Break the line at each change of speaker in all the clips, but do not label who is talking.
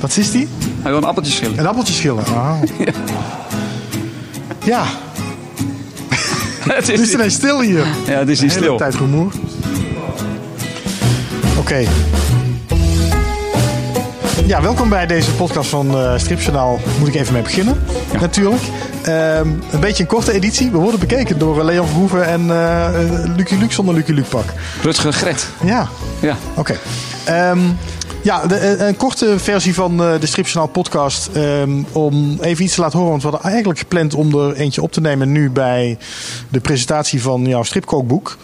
Wat is die?
Hij wil een appeltje schillen.
Een appeltje schillen. Oh. ja,
het
het is
is,
ineens stil hier.
ja, het is niet
De hele
stil.
tijd rumoer. Oké. Ja, welkom bij deze podcast van eh, Stripjournaal. Moet ik even mee beginnen, natuurlijk. Ehm, een beetje een korte editie. We worden bekeken door eh, Leon Verhoeven en eh eh, Lucky Luke zonder Lucky Luke pak.
Rutger Gret.
Ja,
Ja.
oké. Ehm, ja, de- eh, een korte versie van eh, de Stripjournaal podcast. ehm, om even iets te laten horen. Want we hadden eigenlijk gepland om er eentje op te nemen nu bij de presentatie van jouw stripkookboek.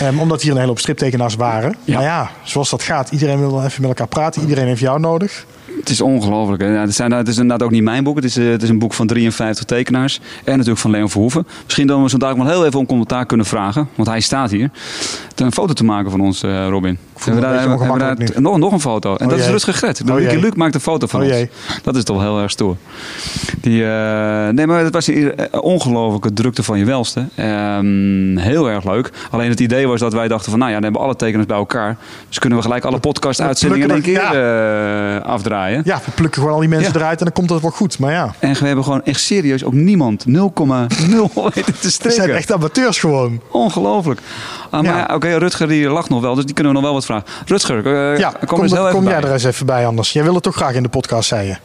Ehm, omdat hier een hele hoop striptekenaars waren.
Ja.
Maar ja, zoals dat gaat. Iedereen wil wel even met elkaar praten. Iedereen heeft jou nodig.
Het is ongelooflijk. hè. Ja, het, zijn, het is inderdaad ook niet mijn boek. Het is, eh, het is een boek van 53 tekenaars. En natuurlijk van Leon Verhoeven. Misschien dat we zo dadelijk wel heel even om commentaar kunnen vragen. Want hij staat hier. Ten een foto te maken van ons, eh, Robin.
voel me een beetje ongemakkelijk
daar- nog, nog een foto. En
Oh
dat is
jee.
rustig gegret.
Oh
Luc,
jee.
Luc maakt een foto van
Oh
ons.
jee.
Dat is toch heel erg stoer. Die, eh, nee, maar het was een eh, ongelofelijke drukte van je welste. Ehm, heel erg leuk. Alleen het idee was dat wij dachten van... Nou ja, dan hebben we alle tekenaars bij elkaar. Dus kunnen we gelijk alle podcast-uitzendingen in één keer
plukken we-
eh, afdraaien.
Ja, we plukken gewoon al die mensen
Ja.
eruit en dan komt dat wel goed. Maar ja,
En we hebben gewoon echt serieus ook niemand 0,0 weten
we
te
zijn
strikken.
echt amateurs gewoon.
Ongelooflijk. Ah, maar
Ja.
ja, oké, Rutger die lacht nog wel, dus die kunnen we nog wel wat vragen. Rutger, eh,
Ja,
kom, eens heel even
kom
bij.
jij er eens even bij anders. Jij wil het toch graag in de podcast, zei je.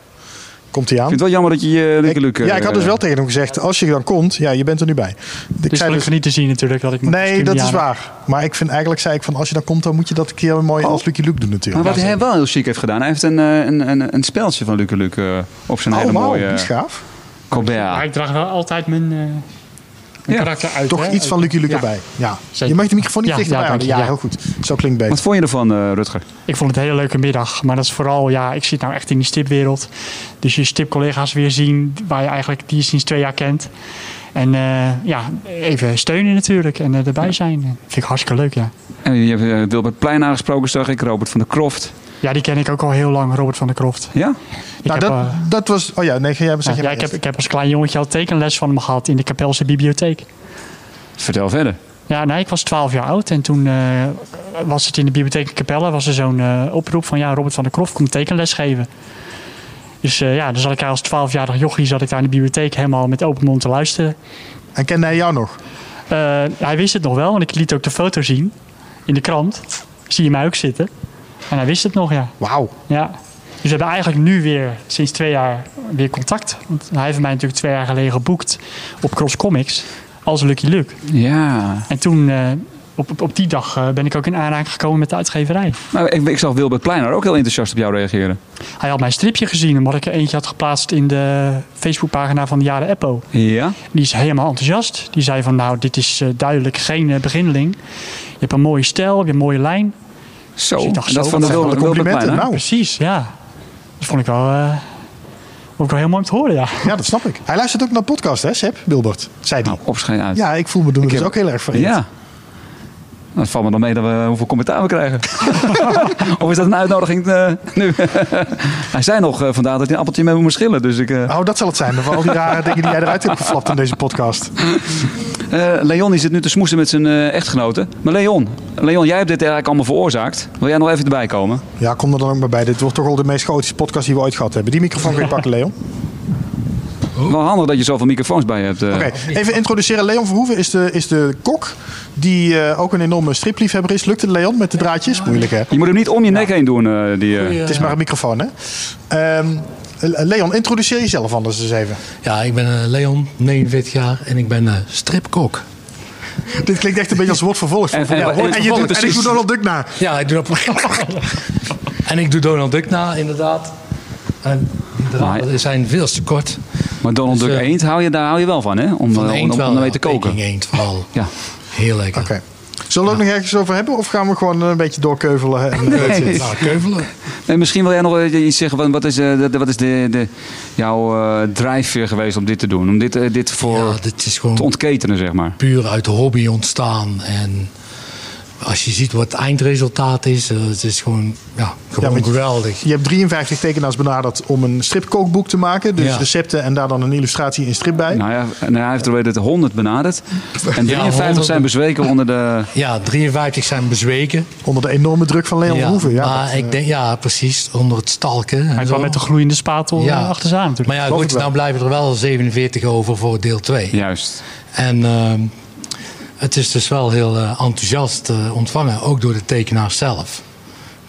Komt hij aan?
Ik vind het wel jammer dat je je Lucky Luke...
ja, ik had dus
eh,
wel tegen hem gezegd, als je dan komt, ja, je bent er nu bij. Ik
Het is
zei dus,
gelukkig niet te zien natuurlijk dat ik mijn
nee,
kostuum
dat
niet
is
aan heb.
waar. Maar ik vind eigenlijk, zei ik van, als je dan komt, dan moet je dat een keer mooi als Lucky Luke doen
Oh. Maar
natuurlijk.
wat hij wel heel chic heeft gedaan, hij heeft een, eh, een, een, een speltje van Lucky Luke eh, op zijn
oh,
hele
wauw,
mooie...
die is gaaf.
Colbert.
Maar ik draag wel altijd mijn, eh, mijn
Ja.
karakter uit.
Toch
hè?
iets van Lucky Luke
Ja.
erbij. Ja.
Zeker.
Je mag de microfoon niet
Ja,
dichterbij
ja,
houden. Ja,
dank je,
heel goed. Zo klinkt beter.
Wat vond je ervan, eh, Rutger?
Ik vond het een hele leuke middag. Maar dat is vooral, ja, ik zit nou echt in die stipwereld. Dus je stipcollega's weer zien waar je eigenlijk die je sinds twee jaar kent. En eh, ja, even steunen natuurlijk en eh, erbij zijn. Vind ik hartstikke leuk, ja.
En je hebt eh, Wilbert Plein aangesproken, zag ik. Robert van der Kroft.
Ja, die ken ik ook al heel lang, Robert van der Kroft.
Ja?
Ik
Nou, dat,
heb, eh,
dat was... Oh ja, nee, ga jij maar
ja,
zeggen.
ik, heb, ik heb als klein jongetje al tekenles van hem gehad in de Kapelse bibliotheek.
Vertel verder.
Ja, nee, ik was 12 jaar oud en toen eh, was het in de bibliotheek in Capelle was er zo'n eh, oproep van ja, Robert van der Kroft komt tekenles geven. Dus eh, ja, dan zat ik daar als 12-jarig jochie zat ik daar in de bibliotheek helemaal met open mond te luisteren.
En kende hij jou nog?
Eh, hij wist het nog wel, want ik liet ook de foto zien in de krant. Zie je mij ook zitten? En hij wist het nog, ja.
Wauw.
ja. Dus we hebben eigenlijk nu weer sinds twee jaar weer contact. Want hij heeft mij natuurlijk twee jaar geleden geboekt op Cross Comics als Lucky Luke.
Ja.
En toen, eh, op, op, op die dag, eh, ben ik ook in aanraking gekomen met de uitgeverij.
Nou, ik, ik zag Wilbert Pleinaar ook heel enthousiast op jou reageren.
Hij had mijn stripje gezien, omdat ik er eentje had geplaatst in de Facebookpagina van de Jaren Eppo.
Ja?
Die is helemaal enthousiast. Die zei van, nou, dit is eh, duidelijk geen eh, beginneling. Je hebt een mooie stijl, je hebt een mooie lijn.
Zo.
Dus ik dacht,
dat
zo,
van de
wat zijn
Wilbert,
alle
Wilbert
complimenten?
Pleinaar.
Nou.
Oh.
Precies, ja. Dat vond ik wel, eh, vond ik wel heel mooi om te horen, ja.
Ja, dat snap ik. Hij luistert ook naar de podcast, hè, Seb? Wilbert, zei hij.
Nou, opschijn uit.
Ja, ik voel me doen. Dat is
heb-
ook heel erg vereerd.
Ja. Dat valt me dan mee dat we hoeveel commentaar we krijgen. of is dat een uitnodiging eh, nu? hij zei nog eh, vandaag dat hij een appeltje mee moet schillen. Dus ik, eh,
Oh, dat zal het zijn. Van al die rare dingen die jij eruit hebt geflapt in deze podcast.
eh, Leon die zit nu te smoesen met zijn eh echtgenote. Maar Leon, Leon, jij hebt dit eigenlijk allemaal veroorzaakt. Wil jij nog even erbij komen?
Ja, kom er dan ook maar bij. Dit wordt toch al de meest chaotische podcast die we ooit gehad hebben. Die microfoon kun je pakken, Leon.
Wel handig dat je zoveel microfoons bij je hebt. eh.
Oké, even introduceren. Leon Verhoeven is de, is de kok die eh, ook een enorme stripliefhebber is. Lukt het, Leon, met de draadjes? Moeilijk, hè?
Je moet hem niet om je nek heen doen. eh, die, eh.
Het is maar een microfoon, hè? Ehm, Leon, introduceer jezelf anders eens even.
Ja, ik ben eh, Leon, 49 jaar en ik ben eh, stripkok.
Dit klinkt echt een beetje als woord vervolgd.
En- en-
Ja,
en-
en, je doet, en ik
precies.
doe Donald Duck na.
Ja, ik doe dat. en ik doe Donald Duck na, inderdaad. En die draden
Maar-
zijn veel te kort.
Maar Donald
Dus,
Duck
eh,
eend, hou je, daar hou je wel van, hè? Om,
Van
eh, om,
eend
om,
wel.
om mee
ja,
te koken.
Peking eend vooral.
Ja.
Heel lekker.
Oké. Zullen we er ook nog ergens over hebben? Of gaan we gewoon een beetje doorkeuvelen? En, eh, nee.
Nou, keuvelen.
En misschien wil jij nog eh, iets zeggen. van Wat is, eh, de- de, wat is de, de, jouw eh drijfveer geweest om dit te doen? Om dit, eh, dit voor
Ja, dit is
te
gewoon
ontketenen, zeg maar.
puur uit de hobby ontstaan. En Als je ziet wat het eindresultaat is, eh, het is gewoon, ja,
Ja,
gewoon
want je-
geweldig.
Je hebt 53 tekenaars benaderd om een stripkookboek te maken. Dus
Ja.
recepten en daar dan een illustratie in strip bij.
Nou ja, nou, hij heeft er weer 100 benaderd. En 53
100.
zijn bezweken onder de...
Ja, 53 zijn bezweken.
Onder de enorme druk van Leon Verhoeven. Ja,
maar
dat,
ik
eh,
denk, ja, precies, onder het stalken. en
Hij
zo.
kwam met de gloeiende spatel
Ja.
eh, achter zijn aan natuurlijk.
Maar ja,
Geloof
goed,
ik wel.
nou blijven er wel 47 over voor deel 2.
Juist.
En ehm, het is dus wel heel eh, enthousiast eh, ontvangen, ook door de tekenaar zelf.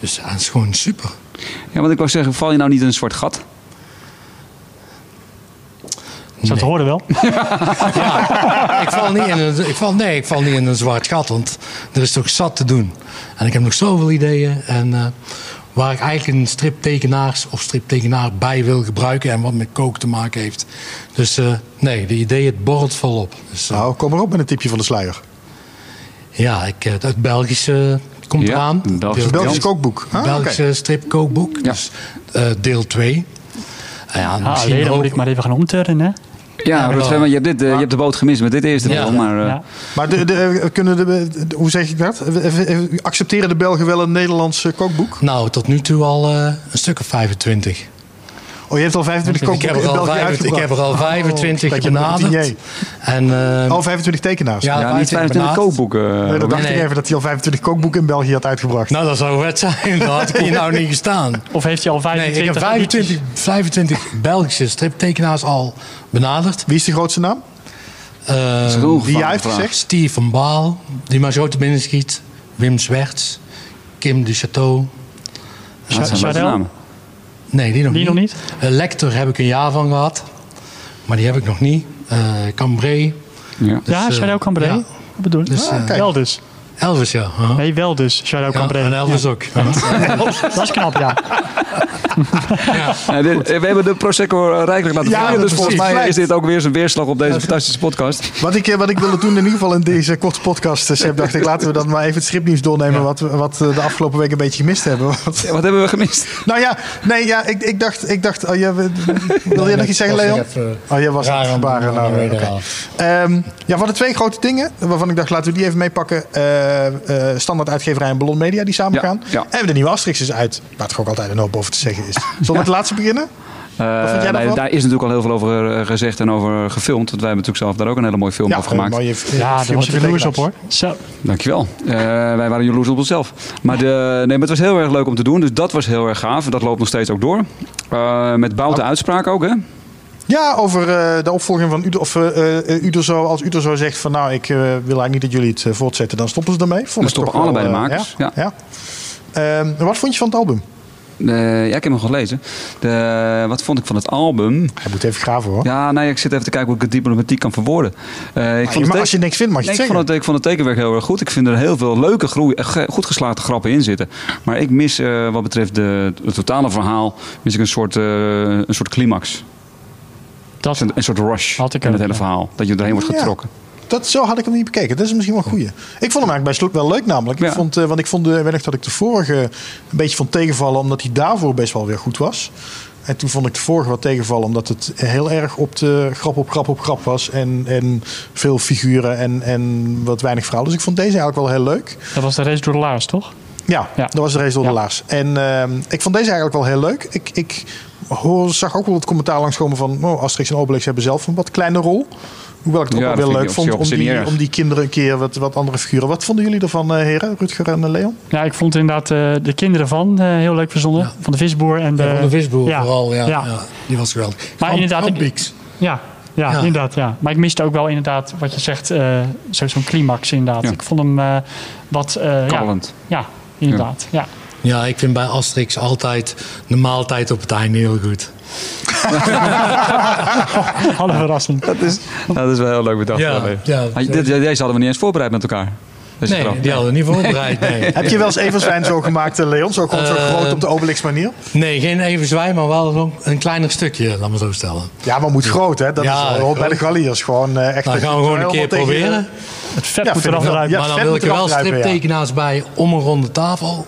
Dus ja, het is gewoon super.
Ja, want ik wou zeggen, val je nou niet in een zwart gat?
Zo te
Nee.
horen Dus wel.
ik val niet in een, ik val, nee, ik val niet in een zwart gat, want er is toch zat te doen. En ik heb nog zoveel ideeën. En eh, waar ik eigenlijk een striptekenaars of striptekenaar bij wil gebruiken en wat met kook te maken heeft. Dus eh, nee, de ideeën het borrelt volop. Dus, eh,
Nou, kom maar op met een tipje van de sluier.
ja, ik, eh, het Belgische komt
Ja,
eraan.
een Belgisch-
Deel-
Belgisch
Jans.
kookboek. Ah, oké.
Belgische stripkookboek. Dus eh, deel 2. ja,
Ah,
misschien
alleen dan
ook-
moet ik maar even gaan omturnen. Hè?
Ja, Ruud
wel.
Schermer, je, hebt dit, eh, je hebt de boot gemist met dit eerste
Ja.
deel. Maar, eh,
Ja.
Maar de, de, eh, kunnen de, de- hoe zeg ik dat? Even- even- Accepteren de Belgen wel een Nederlands eh, kookboek?
Nou, tot nu toe al eh, een stuk of 25.
Oh, je hebt al 25
Ik heb,
kookboeken
er
in
al
België
25 ik
uitgebracht.
heb er al 25
kijk, je hebt er nog een
benaderd. En, eh,
Al 25 tekenaars?
Ja.
ja, niet
25
25
benaderd.
kookboeken. eh,
Nee, dat
Robert.
dacht ik
nee.
even dat hij al 25 kookboeken in België had uitgebracht.
nou, dat zou vet zijn. Daar had ik hier nou niet gestaan.
Of heeft hij al
Nee,
25?
ik heb 25, 25 Belgische striptekenaars al benaderd.
Wie is de grootste naam?
Eh,
Dat is een
Die jij heeft
vraag.
gezegd?
Steve van Baal, die maar zo te binnen schiet. Wim Zwerts. Kim de Chateau.
Ja, Dat zijn
Chardel?
leuke namen.
Nee, die nog
Die
niet.
nog niet?
Eh, Lecter heb ik een jaar van gehad. Maar die heb ik nog niet. Eh Cambrai.
Ja.
Ja,
Dus, eh,
Shadow Cambrai.
ja.
Wat bedoel je?
Dus, eh,
kijk.
Wel dus.
Elvis, ja. huh?
Nee, wel dus. Shadow
Ja,
Cambrai.
en eh, Elvis
Ja.
ook. Ja.
Dat is knap, ja.
Ja, dit- eh, we hebben de Prosecco eh, rijkelijk laten
Ja,
vallen.
dat
Dus volgens
precies.
mij is dit ook weer zijn weerslag op deze fantastische podcast.
Wat ik, eh, wat ik wilde doen in ieder geval in deze korte podcast, eh, Seb, dacht ik, laten we dan maar even het stripnieuws doornemen wat, we- wat eh, de afgelopen week een beetje gemist Eh, hebben. Want-
Wat hebben we gemist?
nou ja, nee, ja, ik, ik dacht, ik dacht, oh, ja, we- wil je nog
nee,
iets zeggen,
was ik
Leon?
even
Oh, jij was
raar
aan het
aan het
gebaren.
doen,
Nou,
maar
oké.
wederhaal.
Ehm, ja, we hadden twee grote dingen waarvan ik dacht, laten we die even meepakken. Eh, eh, standaard uitgeverij en Ballon Media die samen
Ja,
gaan.
ja.
En de nieuwe Asterix is uit, waar toch ook altijd een hoop over te zeggen is. Zullen we met de laatste beginnen? Wat vind jij
Eh, nee,
daarvan?
daar is natuurlijk al heel veel over eh, gezegd en over gefilmd. Want wij hebben natuurlijk zelf daar ook een hele mooie film over gemaakt.
eh, mooie-
Ja,
filmpje
daar was ik
met
jaloers op
tekenaars.
hoor. Zo.
Dankjewel. Eh, wij waren jaloers op onszelf. Maar, de, nee, maar het was heel erg leuk om te doen. Dus dat was heel erg gaaf. En dat loopt nog steeds ook door. Eh, met bouten
Oh.
uitspraak ook, hè?
Ja, over eh, de opvolging van Udo, of, eh, eh, Uderzo. Als Uderzo zegt van nou, ik eh, wil eigenlijk niet dat jullie het eh, voortzetten, dan stoppen ze ermee. Vond
Dan
ik
stoppen
toch wel,
Dus allebei de
eh,
makers,
Ja. ja. Ehm, wat vond je van het album?
Eh, ja, ik heb hem gelezen. De, wat vond ik van het album?
Hij moet even graven hoor.
Ja, nee, ik zit even te kijken hoe ik het diplomatiek kan verwoorden. Eh, ik
Maar
vond het
Ah, je mag-
te-
als je niks vindt, mag je
Nee,
het
ik, vond
zeggen.
het, ik vond het tekenwerk heel erg goed. Ik vind er heel veel leuke, groei, eh, ge- goed geslaagde grappen in zitten. Maar ik mis, eh, wat betreft de, het totale verhaal, mis ik een soort, eh, een soort climax.
Dat,
Een, een soort rush
Had ik
in
ook,
het hele
ja.
verhaal. Dat je erheen wordt
Ja.
getrokken.
Dat, zo had ik hem niet bekeken. Dat is misschien wel een goeie. Ik vond hem eigenlijk bij Sloot wel leuk namelijk. Ik
Ja.
vond, eh, want ik vond de, weet nog dat ik de vorige een beetje vond tegenvallen. Omdat hij daarvoor best wel weer goed was. En toen vond ik de vorige wat tegenvallen. Omdat het heel erg op de grap op grap op grap was. En, en veel figuren en, en wat weinig verhaal. Dus ik vond deze eigenlijk wel heel leuk.
dat was de race door de laars, toch?
Ja,
Ja.
dat was de race door de
Ja.
laars. En ehm, ik vond deze eigenlijk wel heel leuk. Ik, ik hoor, zag ook wel het commentaar langskomen van... Oh, Asterix en Obelix hebben zelf een wat kleine rol. Hoewel ik het
Ja,
ook
dat
wel
vind
weer leuk
ik op
vond
zich- op
om
zich niet
die,
erg.
om die kinderen een keer wat, wat andere figuren. Wat vonden jullie ervan, eh, heren? Rutger en eh, Leon?
Ja, ik vond inderdaad eh, de kinderen van eh, heel leuk verzonnen. Van de visboer en de...
Ja, van de visboer
ja,
vooral, ja,
ja.
ja. Die was geweldig.
Maar
Ham-
inderdaad, ik-
Hampiks.
Ja, ja,
Ja.
inderdaad. Ja. Maar ik miste ook wel inderdaad wat je zegt, eh, zo, zo'n climax inderdaad.
Ja.
Ik vond hem eh, wat... eh, ja,
Kabbelend.
ja, inderdaad. Ja.
Ja, ik vind bij Asterix altijd de maaltijd op het einde heel goed.
Alle verrassing.
Dat, is, dat is wel heel leuk bedacht.
Ja,
Allee.
ja.
Maar Ah, dit- deze hadden we niet eens voorbereid met elkaar. Deze grap.
Nee, die hadden we niet voorbereid. Nee,
Heb je wel eens Everswijn zo gemaakt, eh, Leon? Zo, gewoon zo
Eh,
groot op de Obelix manier?
nee geen even zwaai, maar wel een- een kleiner stukje, laat me zo stellen.
Ja, maar moet groot, hè? Dat
Ja,
is wel bij de
groot.
Galliërs. Gewoon eh, echt...
Nou,
dat
gaan
je
we gewoon een
helemaal
keer
tegen-
proberen.
Het vet
Ja,
moet
vind
eraf
ik wel.
eruit.
Ja.
maar dan
vet
wil
moet
ik er wel
eraf kruipen, ja.
striptekenaars bij om een ronde tafel.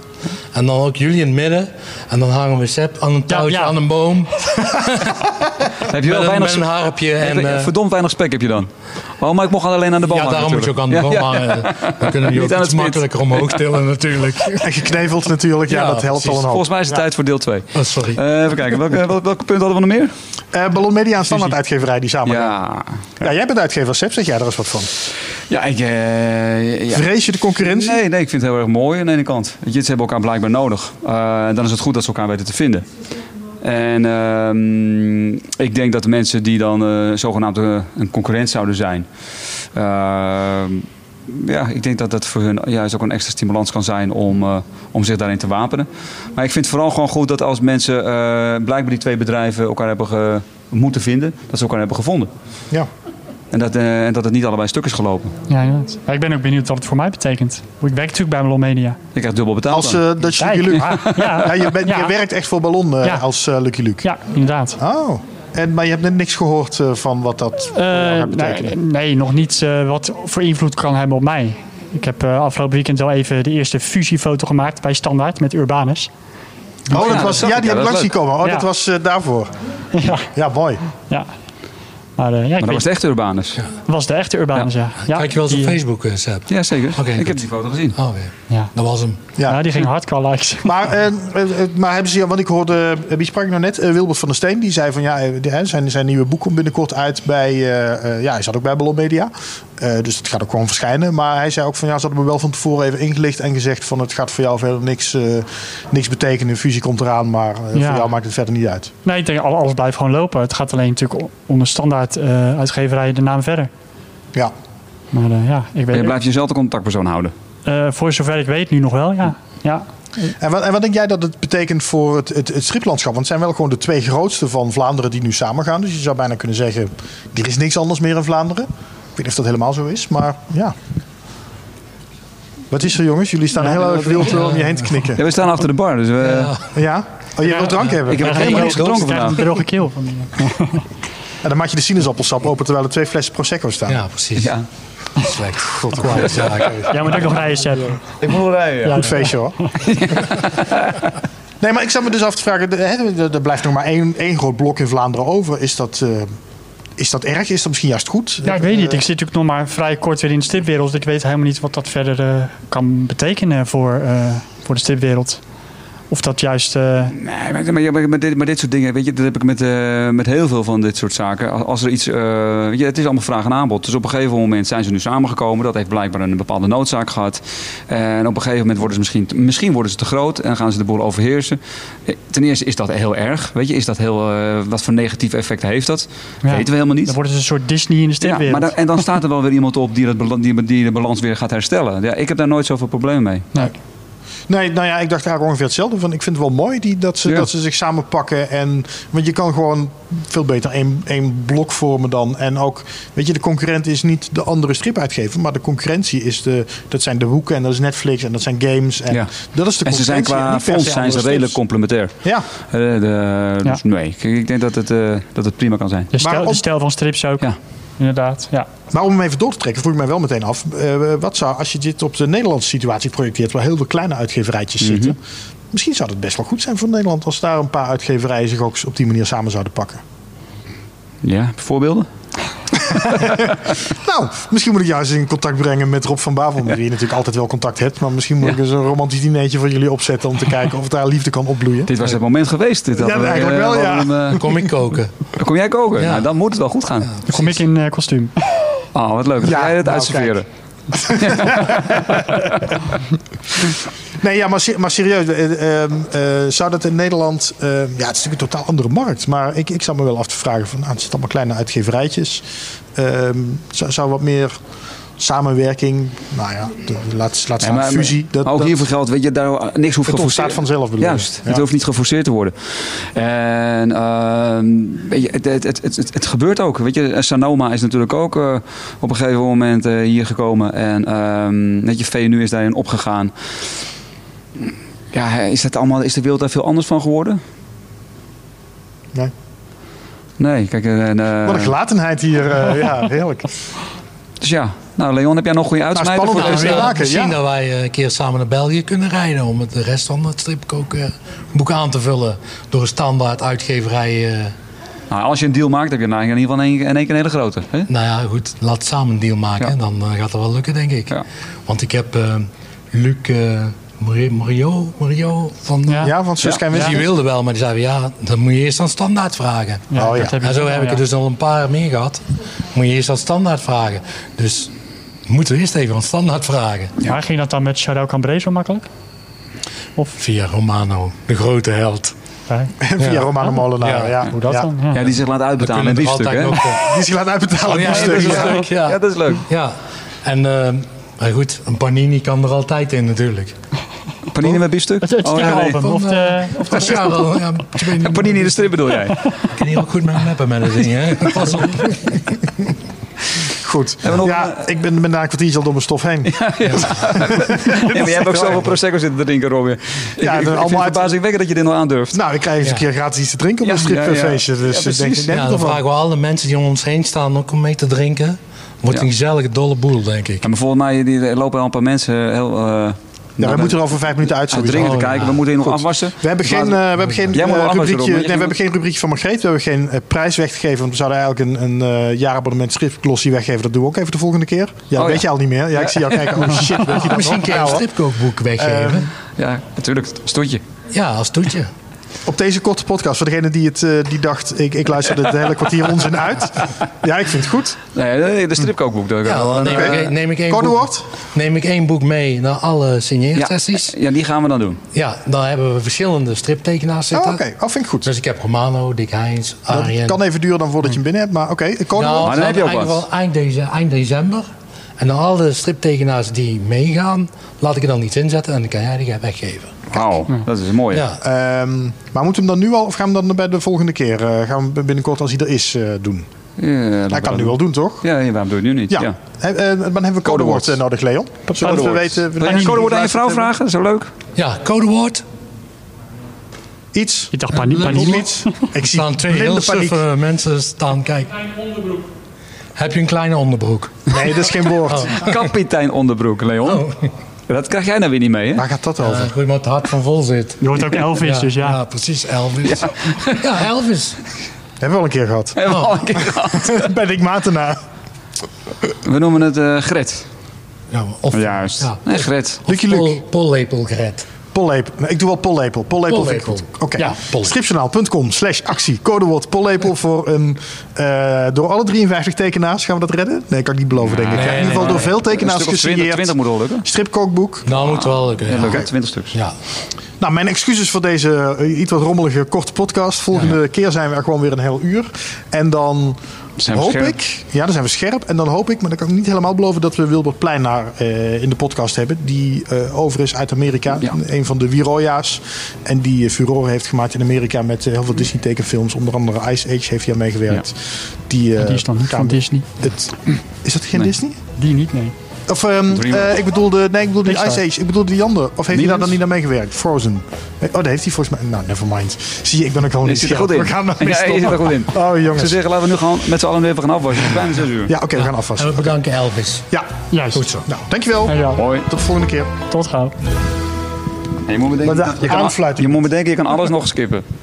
En dan ook jullie in het midden. En dan hangen we Sepp aan een touwtje,
ja.
aan een boom.
Heb je
Met
wel
een,
weinig...
met een harpje.
spe-
En,
Heb je-
eh,
verdomd weinig spek heb je dan. Oh, maar ik mocht alleen aan de bal
ja,
hangen
daarom moet je ook aan de
natuurlijk.
boom
Ja, ja.
hangen. Dan kunnen die
Niet
ook
aan
iets
het spit.
makkelijker omhoog tillen natuurlijk.
En gekneveld natuurlijk, ja,
Ja,
dat helpt al
precies.
een hoop.
Volgens mij is het tijd voor deel 2.
Oh, sorry.
even kijken, welke, wel- welke punten hadden we nog meer?
Eh Ballon Media en standaard uitgeverij die samen. Ja.
Ja,
jij bent uitgever, Seb, zeg jij er eens wat van.
ja ik... eh, ja.
Vrees je de concurrentie?
Nee, nee, ik vind het heel erg mooi aan de ene kant. Weet je, Ze hebben elkaar blijkbaar nodig. Eh, dan is het goed dat ze elkaar weten te vinden. En ehm, ik denk dat de mensen die dan eh, zogenaamd eh, een concurrent zouden zijn. ehm, ja, ik denk dat dat voor hun juist ook een extra stimulans kan zijn om, eh, om zich daarin te wapenen. Maar ik vind het vooral gewoon goed dat als mensen eh, blijkbaar die twee bedrijven elkaar hebben ge- moeten vinden, dat ze elkaar hebben gevonden.
Ja.
En dat, eh, en dat het niet allebei stuk is gelopen.
Ja, inderdaad. Maar ik ben ook benieuwd wat het voor mij betekent. Ik werk natuurlijk bij Melon Media.
Je krijgt dubbel betaald.
Als
dan.
eh, dat je Lucky Luke.
Ja, ja.
Ja, je, bent, je
Ja.
werkt echt voor Ballon eh,
Ja.
als eh, Lucky Luke.
Ja, inderdaad.
Oh. En, maar je hebt net niks gehoord eh, van wat dat voor jou
Eh,
gaat betekenen.
nee, nee, nog niet eh, wat voor invloed kan hebben op mij. Ik heb eh, afgelopen weekend wel even de eerste fusiefoto gemaakt bij Standaard met Urbanus.
Oh, dat
Ja, dat
was,
zag
ja,
ik,
die
ja,
heb ik langs
dat is
zien komen. Oh,
Ja.
dat was eh, daarvoor.
ja,
Ja, mooi.
ja. Maar eh, ja, ik
Maar dat was
weet,
het echt Urbanus.
was, de echte Urbanus, ja. ja.
Kijk je wel eens
die,
op Facebook, eh, Seb?
Ja, zeker.
Oké,
ik
goed.
heb die foto gezien.
Oh, weer.
Ja.
Dat was hem.
Ja.
Ja, die ging hard qua likes.
Maar, eh, eh, eh, maar hebben ze, want ik hoorde, eh, wie sprak ik nou net? Eh, Wilbert van der Steen, die zei van ja, eh, die- hè, zijn, zijn nieuwe boek komt binnenkort uit bij, eh, eh, ja, hij zat ook bij Ballon Media. Eh, dus dat gaat ook gewoon verschijnen. Maar hij zei ook van ja, ze hadden me wel van tevoren even ingelicht en gezegd van het gaat voor jou verder niks, eh, niks betekenen. Fusie komt eraan, maar eh,
Ja.
voor jou maakt het verder niet uit.
Nee, ik denk al- alles blijft gewoon lopen. Het gaat alleen natuurlijk o- onder standaard eh uitgeverij de naam verder.
Ja.
Maar eh, ja, ik
Maar je
weet
blijft jezelf de contactpersoon houden.
eh, voor zover ik weet nu nog wel, ja. ja.
En wat, en wat denk jij dat het betekent voor het, het, het striplandschap? Want het zijn wel gewoon de twee grootste van Vlaanderen die nu samengaan. Dus je zou bijna kunnen zeggen, er is niks anders meer in Vlaanderen. Ik weet niet of dat helemaal zo is, maar ja. Wat is er jongens? Jullie staan heel erg wild om je heen te knikken.
Ja, we staan achter de bar, dus we,
Ja? Oh, je wil drank hebben?
ik heb
Ja,
helemaal
ik-
niks
ik krijg
gedronken vandaag.
een droge keel van die.
En dan maak je de sinaasappelsap open terwijl er twee flessen Prosecco staan.
Ja, precies.
Ja.
Slecht. God, kwaad. Ja, ik-
Jij moet ook nog rijden, Sepp.
Ik moet wel rijden.
Goed feestje hoor. Nee, maar ik zat me dus af te vragen, de- hè, er er blijft nog maar één, één groot blok in Vlaanderen over. Is dat, eh, is dat erg? Is dat misschien juist goed?
Ja, ik weet niet. Ik zit natuurlijk nog maar vrij kort weer in de stipwereld. Dus ik weet helemaal niet wat dat verder eh, kan betekenen voor, eh, voor de stipwereld. Of dat juist... eh,
Nee, maar, maar, maar, maar dit, maar dit soort dingen, weet je, dat heb ik met, eh, met heel veel van dit soort zaken. Als, als er iets, eh, weet je, het is allemaal vraag en aanbod. Dus op een gegeven moment zijn ze nu samengekomen. Dat heeft blijkbaar een bepaalde noodzaak gehad. En op een gegeven moment worden ze misschien, te- misschien worden ze te groot en gaan ze de boel overheersen. Eh, Ten eerste is dat heel erg, weet je, is dat heel, eh, wat voor negatief effect heeft dat?
Ja.
Weten we helemaal niet.
dan wordt het een soort Disney in de
Ja,
stipwereld.
maar dan, en dan staat er wel weer iemand op die, dat, bala- die, die de balans weer gaat herstellen. Ja, ik heb daar nooit zoveel problemen mee.
Nee.
Nee, nou ja, ik dacht eigenlijk ongeveer hetzelfde. Van, ik vind het wel mooi die, dat, ze,
Ja.
dat ze zich samenpakken. En, want je kan gewoon veel beter één, één blok vormen dan. En ook, weet je, de concurrent is niet de andere stripuitgever. Maar de concurrentie is de, dat zijn de boeken en dat is Netflix en dat zijn games. En
Ja.
dat is de concurrentie.
En ze zijn qua
niet per se
fonds zijn ze
andere
redelijk
strips.
complementair.
Ja,
Eh, de-
Ja.
Dus nee, ik, ik denk dat het, eh, dat het prima kan zijn.
De stijl,
Maar om-
de stijl van strips ook.
Ja.
Inderdaad, ja.
maar om hem even door te trekken, vroeg ik mij wel meteen af. eh, wat zou, als je dit op de Nederlandse situatie projecteert, waar heel veel kleine uitgeverijtjes
Mhm.
zitten. Misschien zou het best wel goed zijn voor Nederland als daar een paar uitgeverijen zich ook op die manier samen zouden pakken.
Ja, voorbeelden?
Nou, misschien moet ik juist in contact brengen met Rob van Bavel, met wie je natuurlijk altijd wel contact hebt. Maar misschien moet
Ja.
ik eens een romantisch dinertje voor jullie opzetten om te kijken of daar liefde kan opbloeien.
Dit was het moment geweest. Dit hadden we,
eigenlijk
eh,
wel, ja.
hadden we hem,
Kom ik koken.
eh, kom jij koken?
Ja.
Nou, dan moet het wel goed gaan.
Dan kom ik in eh, kostuum.
Oh, wat leuk. Dan
Ja,
ga jij het
nou,
uitserveren.
Nee, ja, maar, se- maar serieus, eh, ehm, eh, zou dat in Nederland... eh, ja, het is natuurlijk een totaal andere markt. Maar ik, ik zou me wel af te vragen van, nou, het zijn allemaal kleine uitgeverijtjes. Ehm, zou, zou wat meer samenwerking, nou ja, de, laat, laat
Ja,
staan
maar-
fusie.
maar ook hiervoor geldt, weet je, daar eh, niks hoeft
Het ontstaat
geforceerd-
vanzelf, bedoel ik.
Juist,
Ja.
het hoeft niet geforceerd te worden. En ehm, weet je, het, het, het, het, het- het gebeurt ook. Weet je, Sanoma is natuurlijk ook eh, op een gegeven moment eh, hier gekomen. En ehm weet je, VNU is daarin opgegaan. Ja, is, dat allemaal, is de wereld daar veel anders van geworden?
Nee.
Nee, kijk. En, eh,
Wat een gelatenheid hier. eh, ja, heerlijk.
dus ja, nou Leon, heb jij nog een goede uitsmijter?
spannend
voor
aan
Nou,
deze-
weer
eh,
maken,
misschien
ja.
dat wij eh, een keer samen naar België kunnen rijden om het de rest van het stripkookboek aan te vullen door een standaard uitgeverij eh,
Nou, als je een deal maakt, heb je nou in ieder geval in één, in één keer een hele grote. Hè?
Nou ja, goed, laat samen een deal maken.
Ja.
Dan eh, gaat dat wel lukken, denk ik.
Ja.
Want ik heb eh, Luc eh, Mori- Morio, Morio van...
Ja.
Ja, want zus en
Die
Wessie.
wilde wel, maar die zei van, ja, dan moet je eerst aan standaard vragen.
Oh, ja.
En zo heb ik er dus al een paar meer gehad. Moet je eerst aan standaard vragen. Dus moeten we eerst even aan standaard vragen.
Maar ging dat dan met Charel Cambré zo makkelijk?
Via Romano, de grote held.
Ja,
Via Romano Molenaar. Ja.
hoe dat
ja.
dan? Ja.
Ja, die zich laat uitbetalen
Kunnen
met
er
biefstuk, hè?
altijd nog, eh,
Die zich laat uitbetalen.
Oh, ja,
die
dat is
stuk,
wel leuk, ja.
Ja, dat is leuk.
Ja, en eh, maar goed, een panini kan er altijd in natuurlijk.
Panini met biefstuk?
Het, het
Oh, nee, nee.
stripalbum,
nee.
of de... Of
Dat is ja wel, ja, ik weet niet-
Panini in de strip bedoel jij?
Ik kan heel goed met mappen met dat ding, hè. Pas op.
Goed.
we nog-
Ja, ik ben, ben daar een kwartiertje al door mijn stof heen.
Ja, maar jij hebt ook zoveel Prosecco zitten te drinken, Robin. Ik-
Ja,
ik,
dat
ik vind
allemaal
het
uit-
verbazingwekkend dat je dit nog aandurft.
Nou, ik krijg eens een keer gratis iets te drinken op
Ja,
een stripfeestje.
ja, ja.
Dus
Ja,
ik denk,
precies.
ik denk het
Ja, dan
toch wel.
vragen we alle mensen die om ons heen staan ook om mee te drinken. Wordt
Ja.
een gezellige dolle boel, denk ik.
Ja, maar volgens mij die, er lopen al een paar mensen heel... eh
Ja, we moeten er over vijf minuten uit. sowieso.
Dringend te
Oh,
kijken,
ja.
we moeten hier nog
Goed.
afwassen.
We hebben geen, eh, we hebben geen,
Jij moet
eh,
nog anders
rubriekje,
erop.
nee, we hebben geen rubriekje van Margreet. We hebben geen eh, prijs weggegeven. Want we zouden eigenlijk een, een eh, jaarabonnement schriftglossie weggeven. Dat doen we ook even de volgende keer. Ja, dat
ja.
weet je al niet meer. Ja, ik zie jou kijken. Oh shit, weet je dat
Misschien
nog?
kan je een Eh.
Nou,
stripkookboek weggeven.
Ja, natuurlijk. Stontje.
ja, als toetje.
Op deze korte podcast, voor degene die, het, eh, die dacht, ik, ik luister het hele kwartier onzin uit. Ja, ik vind het goed.
Nee, nee, de stripkookboek. dat-
Ja, dan neem ik,
eh,
één- neem ik één
codewoord?
boek, neem ik één boek mee naar alle
ja,
signeersessies. Ja.
ja, die gaan we dan doen.
dan hebben we verschillende striptekenaars
Oh,
zitten.
oké. Oh, vind ik goed.
Dus ik heb Romano, Dick Heijns, Arjen.
Dat kan even duren dan voordat je hem binnen hebt. Maar oké, ik kon
Nou,
Maar dan heb je ook
in ieder
wat.
geval eind, deze, eind december. En dan alle striptekenaars die meegaan, laat ik er dan iets inzetten en dan kan jij die gaan weggeven.
Wauw, dat is mooi.
Ja.
Ehm, maar moeten we hem dan nu al of gaan we hem dan bij de volgende keer? eh, gaan we hem binnenkort als hij er is eh, doen?
Ja, dat
Nou,
Hij kan het nu wel doen, toch?
Ja, ja, waarom doe je het nu niet?
Ja. He- eh, dan hebben we codewoord
Codewoord.
eh, nodig, Leon. Zodat we weten
Wil je een codewoord aan je vrouw vragen? Zo leuk.
ja, codewoord.
iets.
Ik dacht panie-
Leuk.
paniek.
Iets. Ik
Er
zie
staan twee
blinde
heel
paniek.
suffe mensen staan kijken. Heb je een kleine onderbroek?
Nee, dat is geen woord.
Oh.
Kapitein onderbroek, Leon. Dat krijg jij nou weer niet mee, hè?
Waar gaat dat over?
Goed, Eh, maar het hart van vol zit.
Je hoort ook Elvis, dus ja.
precies, Elvis. Ja, Elvis.
Hebben we al een keer gehad.
Hebben we al een keer gehad.
bij Dick Matena.
We noemen het eh, Gret.
Ja, of,
Juist.
Ja.
Nee, Gret.
Lucky
Pol-
Luke.
pollepelgret.
Pollepel. Nee, ik doe wel pollepel. Pollepel. vind ik
Pollepel.
goed. Oké.
Ja, pollepel.
Stripjournaal.com slash actie. Codewoord pollepel voor een... eh, door alle 53 tekenaars. Gaan we dat redden? Nee, kan ik niet beloven, denk ik. in ieder geval door veel
Een
tekenaars
stuk of 20, 20
gesigneerd.
moet wel lukken.
Stripkookboek.
Nou, moet wel lukken. Ja.
Oké, 20 stuks.
Ja.
Nou, mijn excuses voor deze eh, iets wat rommelige korte podcast. Volgende keer zijn we er gewoon weer een heel uur. En dan
Zijn we
hoop
scherp?
ik... Ja, dan zijn we scherp. En dan hoop ik, maar dan kan ik niet helemaal beloven... dat we Wilbert Pleinaar eh, in de podcast hebben. Die eh, over is uit Amerika.
Ja.
Een van de Wiroya's. En die eh, furore heeft gemaakt in Amerika... met eh, heel veel Disney-tekenfilms. Onder andere Ice Age heeft hij aan meegewerkt. Die, eh,
Die is dan niet
gaan
van
we-
Disney.
het, is dat geen
Nee.
Disney?
Die niet, nee.
Of ehm,
Dreamworld.
eh, ik bedoelde, nee, ik bedoelde die Ice
Pixar.
Age. Ik bedoelde die dus- andere. Of heeft hij daar
Niemand?
dan niet aan meegewerkt? Frozen. Nee, Oh, daar heeft hij volgens mij. Nou, never mind. Zie je, ik ben ook al
Je
niet
zit er
scherp.
goed in.
We gaan nou
Ja, je zit er goed in.
Oh,
Ik
jongens.
zou zeggen, laten we nu gewoon met z'n allen even gaan afwassen. Het is bijna 6 uur.
Ja, oké, we gaan
En
afwassen.
we bedanken Elvis.
Ja,
Juist.
goed zo. Nou, dankjewel.
Dankjewel.
Hoi.
Tot de volgende keer.
Tot gauw.
En Je moet bedenken,
Maar de
je, kan,
aanfluiting.
je moet bedenken, je kan alles nog skippen.